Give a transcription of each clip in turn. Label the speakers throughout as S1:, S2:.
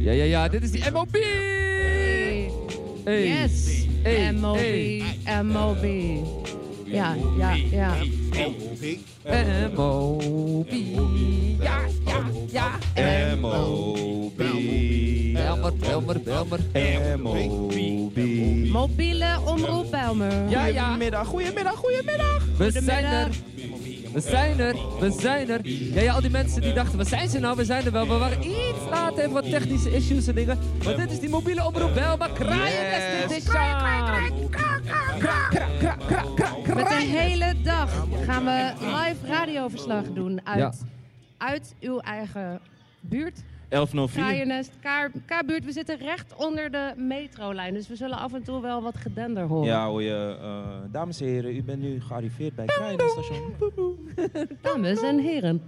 S1: Ja, ja, ja. Dit is die MOB. Hey.
S2: Yes.
S1: Hey.
S2: MOB.
S1: Hey.
S2: MOB. Ja, ja, ja.
S1: MOB. Ja, ja, ja.
S3: M.O.B.
S1: Belmer, Belmer, Belmer.
S3: M.O.B.
S2: Mobiele omroep Belmer.
S1: Ja, ja.
S3: Middag, goedemiddag, goedemiddag.
S1: We zijn er. We zijn er. We zijn er. Ja, ja, al die mensen die dachten, waar zijn ze nou? We zijn er wel. We waren iets later, even wat technische issues en dingen. Maar dit is die mobiele omroep Belma. Kraaien yes.
S2: Dit is Sjaak.
S1: Ah,
S2: Met een hele dag gaan we live radioverslag doen uit,
S1: Ja.
S2: uit uw eigen buurt.
S3: 11.04.
S2: Kraaiennest, Kaar- K-buurt. We zitten recht onder de metrolijn, dus we zullen af en toe wel wat gedender horen.
S3: Ja, hoor je. eh, dames en heren, u bent nu gearriveerd bij Kruidenstation.
S2: Dames en heren.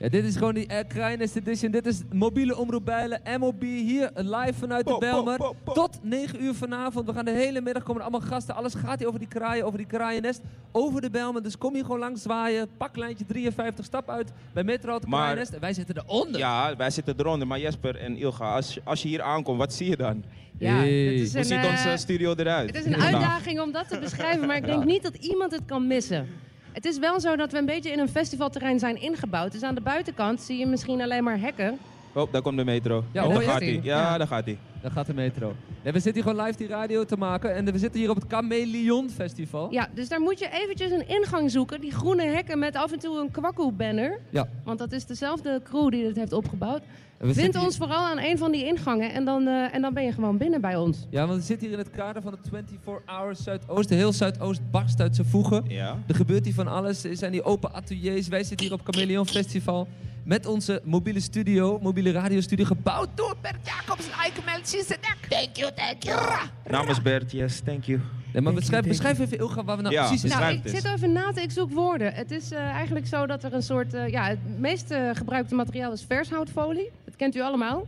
S1: Ja, dit is gewoon die uh, Edition. Dit is mobiele omroep Bijlen, MOB, hier live vanuit de
S3: Po, po,
S1: Belmer.
S3: po, po.
S1: Tot 9 uur vanavond. We gaan de hele middag, komen er allemaal gasten. Alles gaat hier over die kraaien, over die kraaiennest, over de Belmer. Dus kom hier gewoon langs zwaaien. Pak lijntje 53, stap uit bij Metro, het
S3: Maar-
S1: kraaiennest. En wij zitten eronder.
S3: Ja, wij zitten eronder. Maar Jesper en Ilga, als, als je hier aankomt, wat zie je dan?
S2: Ja,
S1: Hey.
S2: dit is
S3: Hoe
S2: een,
S3: ziet
S2: eh,
S3: onze studio eruit?
S2: het is een
S3: Nou,
S2: uitdaging om dat te beschrijven, maar ik denk niet dat iemand het kan missen. Het is wel zo dat we een beetje in een festivalterrein zijn ingebouwd. Dus aan de buitenkant zie je misschien alleen maar hekken.
S3: Oh, daar komt de metro.
S1: Ja, hoor
S3: daar
S1: je
S3: gaat
S2: het?
S3: hij. Ja, daar gaat hij.
S1: Daar gaat de Metro. Nee, we zitten hier gewoon live die radio te maken. En we zitten hier op het Chameleon Festival.
S2: Ja, dus daar moet je eventjes een ingang zoeken. Die groene hekken met af en toe een kwakkoe-banner.
S1: Ja.
S2: Want dat is dezelfde crew die dit heeft opgebouwd.
S1: En we
S2: Vind
S1: zitten hier-
S2: ons vooral aan een van die ingangen en dan, eh, en dan ben je gewoon binnen bij ons.
S1: Ja, want we zitten hier in het kader van het 24 Hours Zuidoosten. Heel Zuidoost barst uit zijn voegen.
S3: Ja.
S1: Er gebeurt hier van alles. Er zijn die open ateliers. Wij zitten hier op Chameleon Festival. Met onze mobiele studio, mobiele radiostudio, gebouwd door Bert Jacobs en Eike Melchisedek. Thank you, thank you.
S3: Namens Bert, yes, thank you.
S1: Nee, maar beschrijf, beschrijf even, Ilga, waar we nou
S3: Ja,
S1: precies in
S3: beschrijf.
S2: Nou,
S3: Beschrijf
S2: ik
S3: het eens.
S2: zit even na te, ik zoek woorden. Het is eh, eigenlijk zo dat er een soort, eh, ja, het meest eh, gebruikte materiaal is vershoutfolie. Dat kent u allemaal.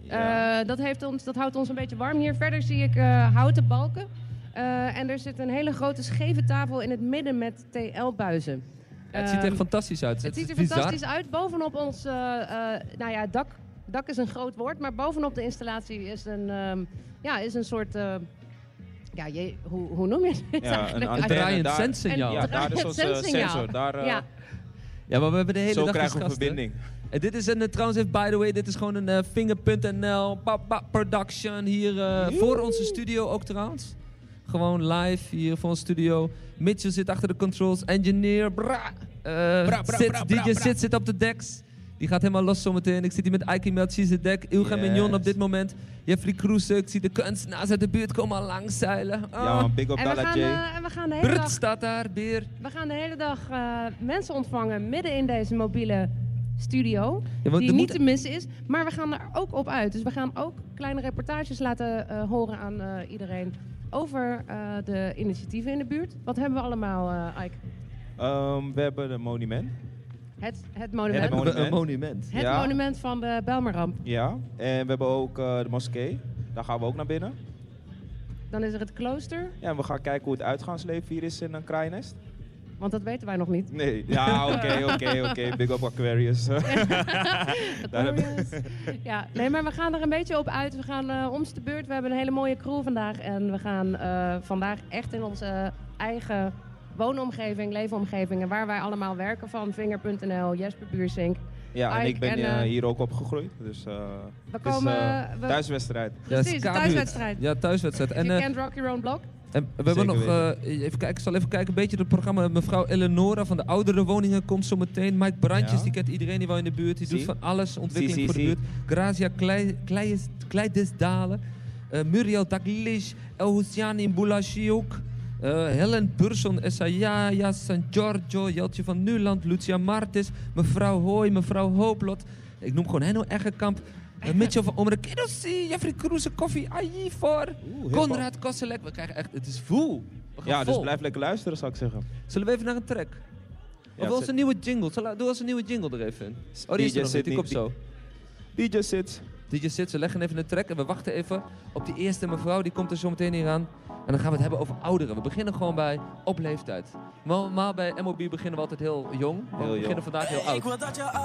S3: Ja.
S2: Eh, dat, heeft ons, dat houdt ons een beetje warm hier. Verder zie ik eh, houten balken. Eh, en er zit een hele grote scheve tafel in het midden met TL-buizen.
S1: Ja, het ziet er echt fantastisch uit.
S2: Het ziet er
S1: is bizar.
S2: fantastisch uit. Bovenop ons, eh, eh, nou ja, dak. Dak is een groot woord, maar bovenop de installatie is een, ehm, ja, is een soort, eh, ja, je, hoe, hoe noem je het
S3: Ja, een
S2: eigenlijk?
S3: antenne.
S2: Eigenlijk-
S1: Draaiend
S3: daar-
S1: zendsignaal.
S3: Ja,
S2: Een
S3: daar is
S2: draaiend
S3: onze
S2: zendsignaal.
S3: sensor. Daar, eh,
S2: Ja.
S1: Ja, maar we hebben de hele
S3: Zo
S1: dag
S3: krijgen we
S1: dus gasten.
S3: verbinding.
S1: En dit is een, eh, trouwens, even, by the way, dit is gewoon een eh, Finger.nl pa- pa- production hier eh, voor onze studio ook trouwens. Gewoon live hier voor ons studio. Mitchell zit achter de controls, engineer, bra. Eh,
S3: Bra, bra,
S1: zit,
S3: bra,
S1: DJ
S3: bra, bra.
S1: zit, zit op de decks. Die gaat helemaal los zometeen. Ik zit hier met Ike Melchies, de deck, Ilga
S3: Yes.
S1: Mignon op dit moment. Jeffrey Kroes, eh, ik zie de kunstenaars uit de buurt komen al langzeilen. Ah,
S3: Ja, man, big up
S2: En we,
S3: Dalla
S2: gaan,
S3: J.
S2: eh, en we gaan de hele
S1: Brut
S2: dag,
S1: staat daar, Beer.
S2: we gaan de hele dag eh, mensen ontvangen midden in deze mobiele studio.
S1: Ja, want
S2: die
S1: er
S2: niet
S1: moet-
S2: te missen is. Maar we gaan er ook op uit. Dus we gaan ook kleine reportages laten eh, horen aan eh, iedereen. Over eh, de initiatieven in de buurt. Wat hebben we allemaal, eh Ike?
S3: Ehm, we hebben een monument.
S2: Het, het monument.
S3: Het
S2: Het,
S3: monument.
S1: Een monument.
S3: ja.
S2: monument van de Belmerramp.
S3: Ja. En we hebben ook eh, de moskee. Daar gaan we ook naar binnen.
S2: Dan is er het klooster.
S3: Ja, en we gaan kijken hoe het uitgaansleven hier is in een kraaiennest.
S2: Want dat weten wij nog niet.
S3: Nee. Ja, oké, oké, oké. Big up Aquarius. Daar heb-
S2: Aquarius. ja, nee, maar we gaan er een beetje op uit. We gaan eh om de beurt. We hebben een hele mooie crew vandaag. En we gaan eh, vandaag echt in onze eigen woonomgeving, leefomgeving... en waar wij allemaal werken van Vinger.nl, Jesper Buursink.
S3: ja, en
S2: Ike
S3: ik ben
S2: en,
S3: eh,
S2: eh,
S3: hier ook opgegroeid. Dus eh, het is,
S2: komen-
S3: eh,
S2: we-
S3: thuiswedstrijd.
S2: Precies,
S1: Ja,
S2: een
S1: Ska-buurt.
S2: thuiswedstrijd.
S1: Ja, thuiswedstrijd. En,
S2: En,
S1: eh,
S2: you can rock your own block.
S1: En we hebben nog,
S3: Zeker
S1: eh, even kijken, ik zal even kijken, een beetje het programma. Mevrouw Eleonora van de Oudere Woningen komt zo meteen. Mike Brandjes,
S3: Ja.
S1: die kent iedereen die wel in de buurt. Die
S3: Zie.
S1: doet van alles, ontwikkeling
S3: Zie,
S1: voor
S3: zie,
S1: de buurt. Grazia Klei- Kleijes- Kleidesdalen, eh, Muriel Daglish, El Houssiani Boulashiok, eh, Helen Burson, Essayaya, San Giorgio, Jeltje van Nuland, Lucia Martis, mevrouw Hooy, mevrouw Hooplot. Ik noem gewoon Henno Eggenkamp. eh, Mitchell van Omre, Kidossi, Jeffrey Kroeze, Koffie, Ayi voor.
S3: Oeh, heel
S1: Konrad Kosselek, we krijgen echt, het is vol. We gaan
S3: Ja, dus
S1: vol.
S3: blijf lekker luisteren, zou ik zeggen.
S1: Zullen we even naar een track?
S3: Ja,
S1: of onze
S3: zet-
S1: nieuwe jingle? Zal, doe onze nieuwe jingle er even in. Oh, die is
S3: DJ
S1: er nog niet, die
S3: Sydney,
S1: komt zo.
S3: DJ zit.
S1: DJ zit, ze leggen even een track en we wachten even op die eerste mevrouw. Die komt er zo meteen hier aan. En dan gaan we het hebben over ouderen. We beginnen gewoon bij op leeftijd. Normaal bij MOB beginnen we altijd heel jong. maar we
S3: jong.
S1: beginnen vandaag heel oud.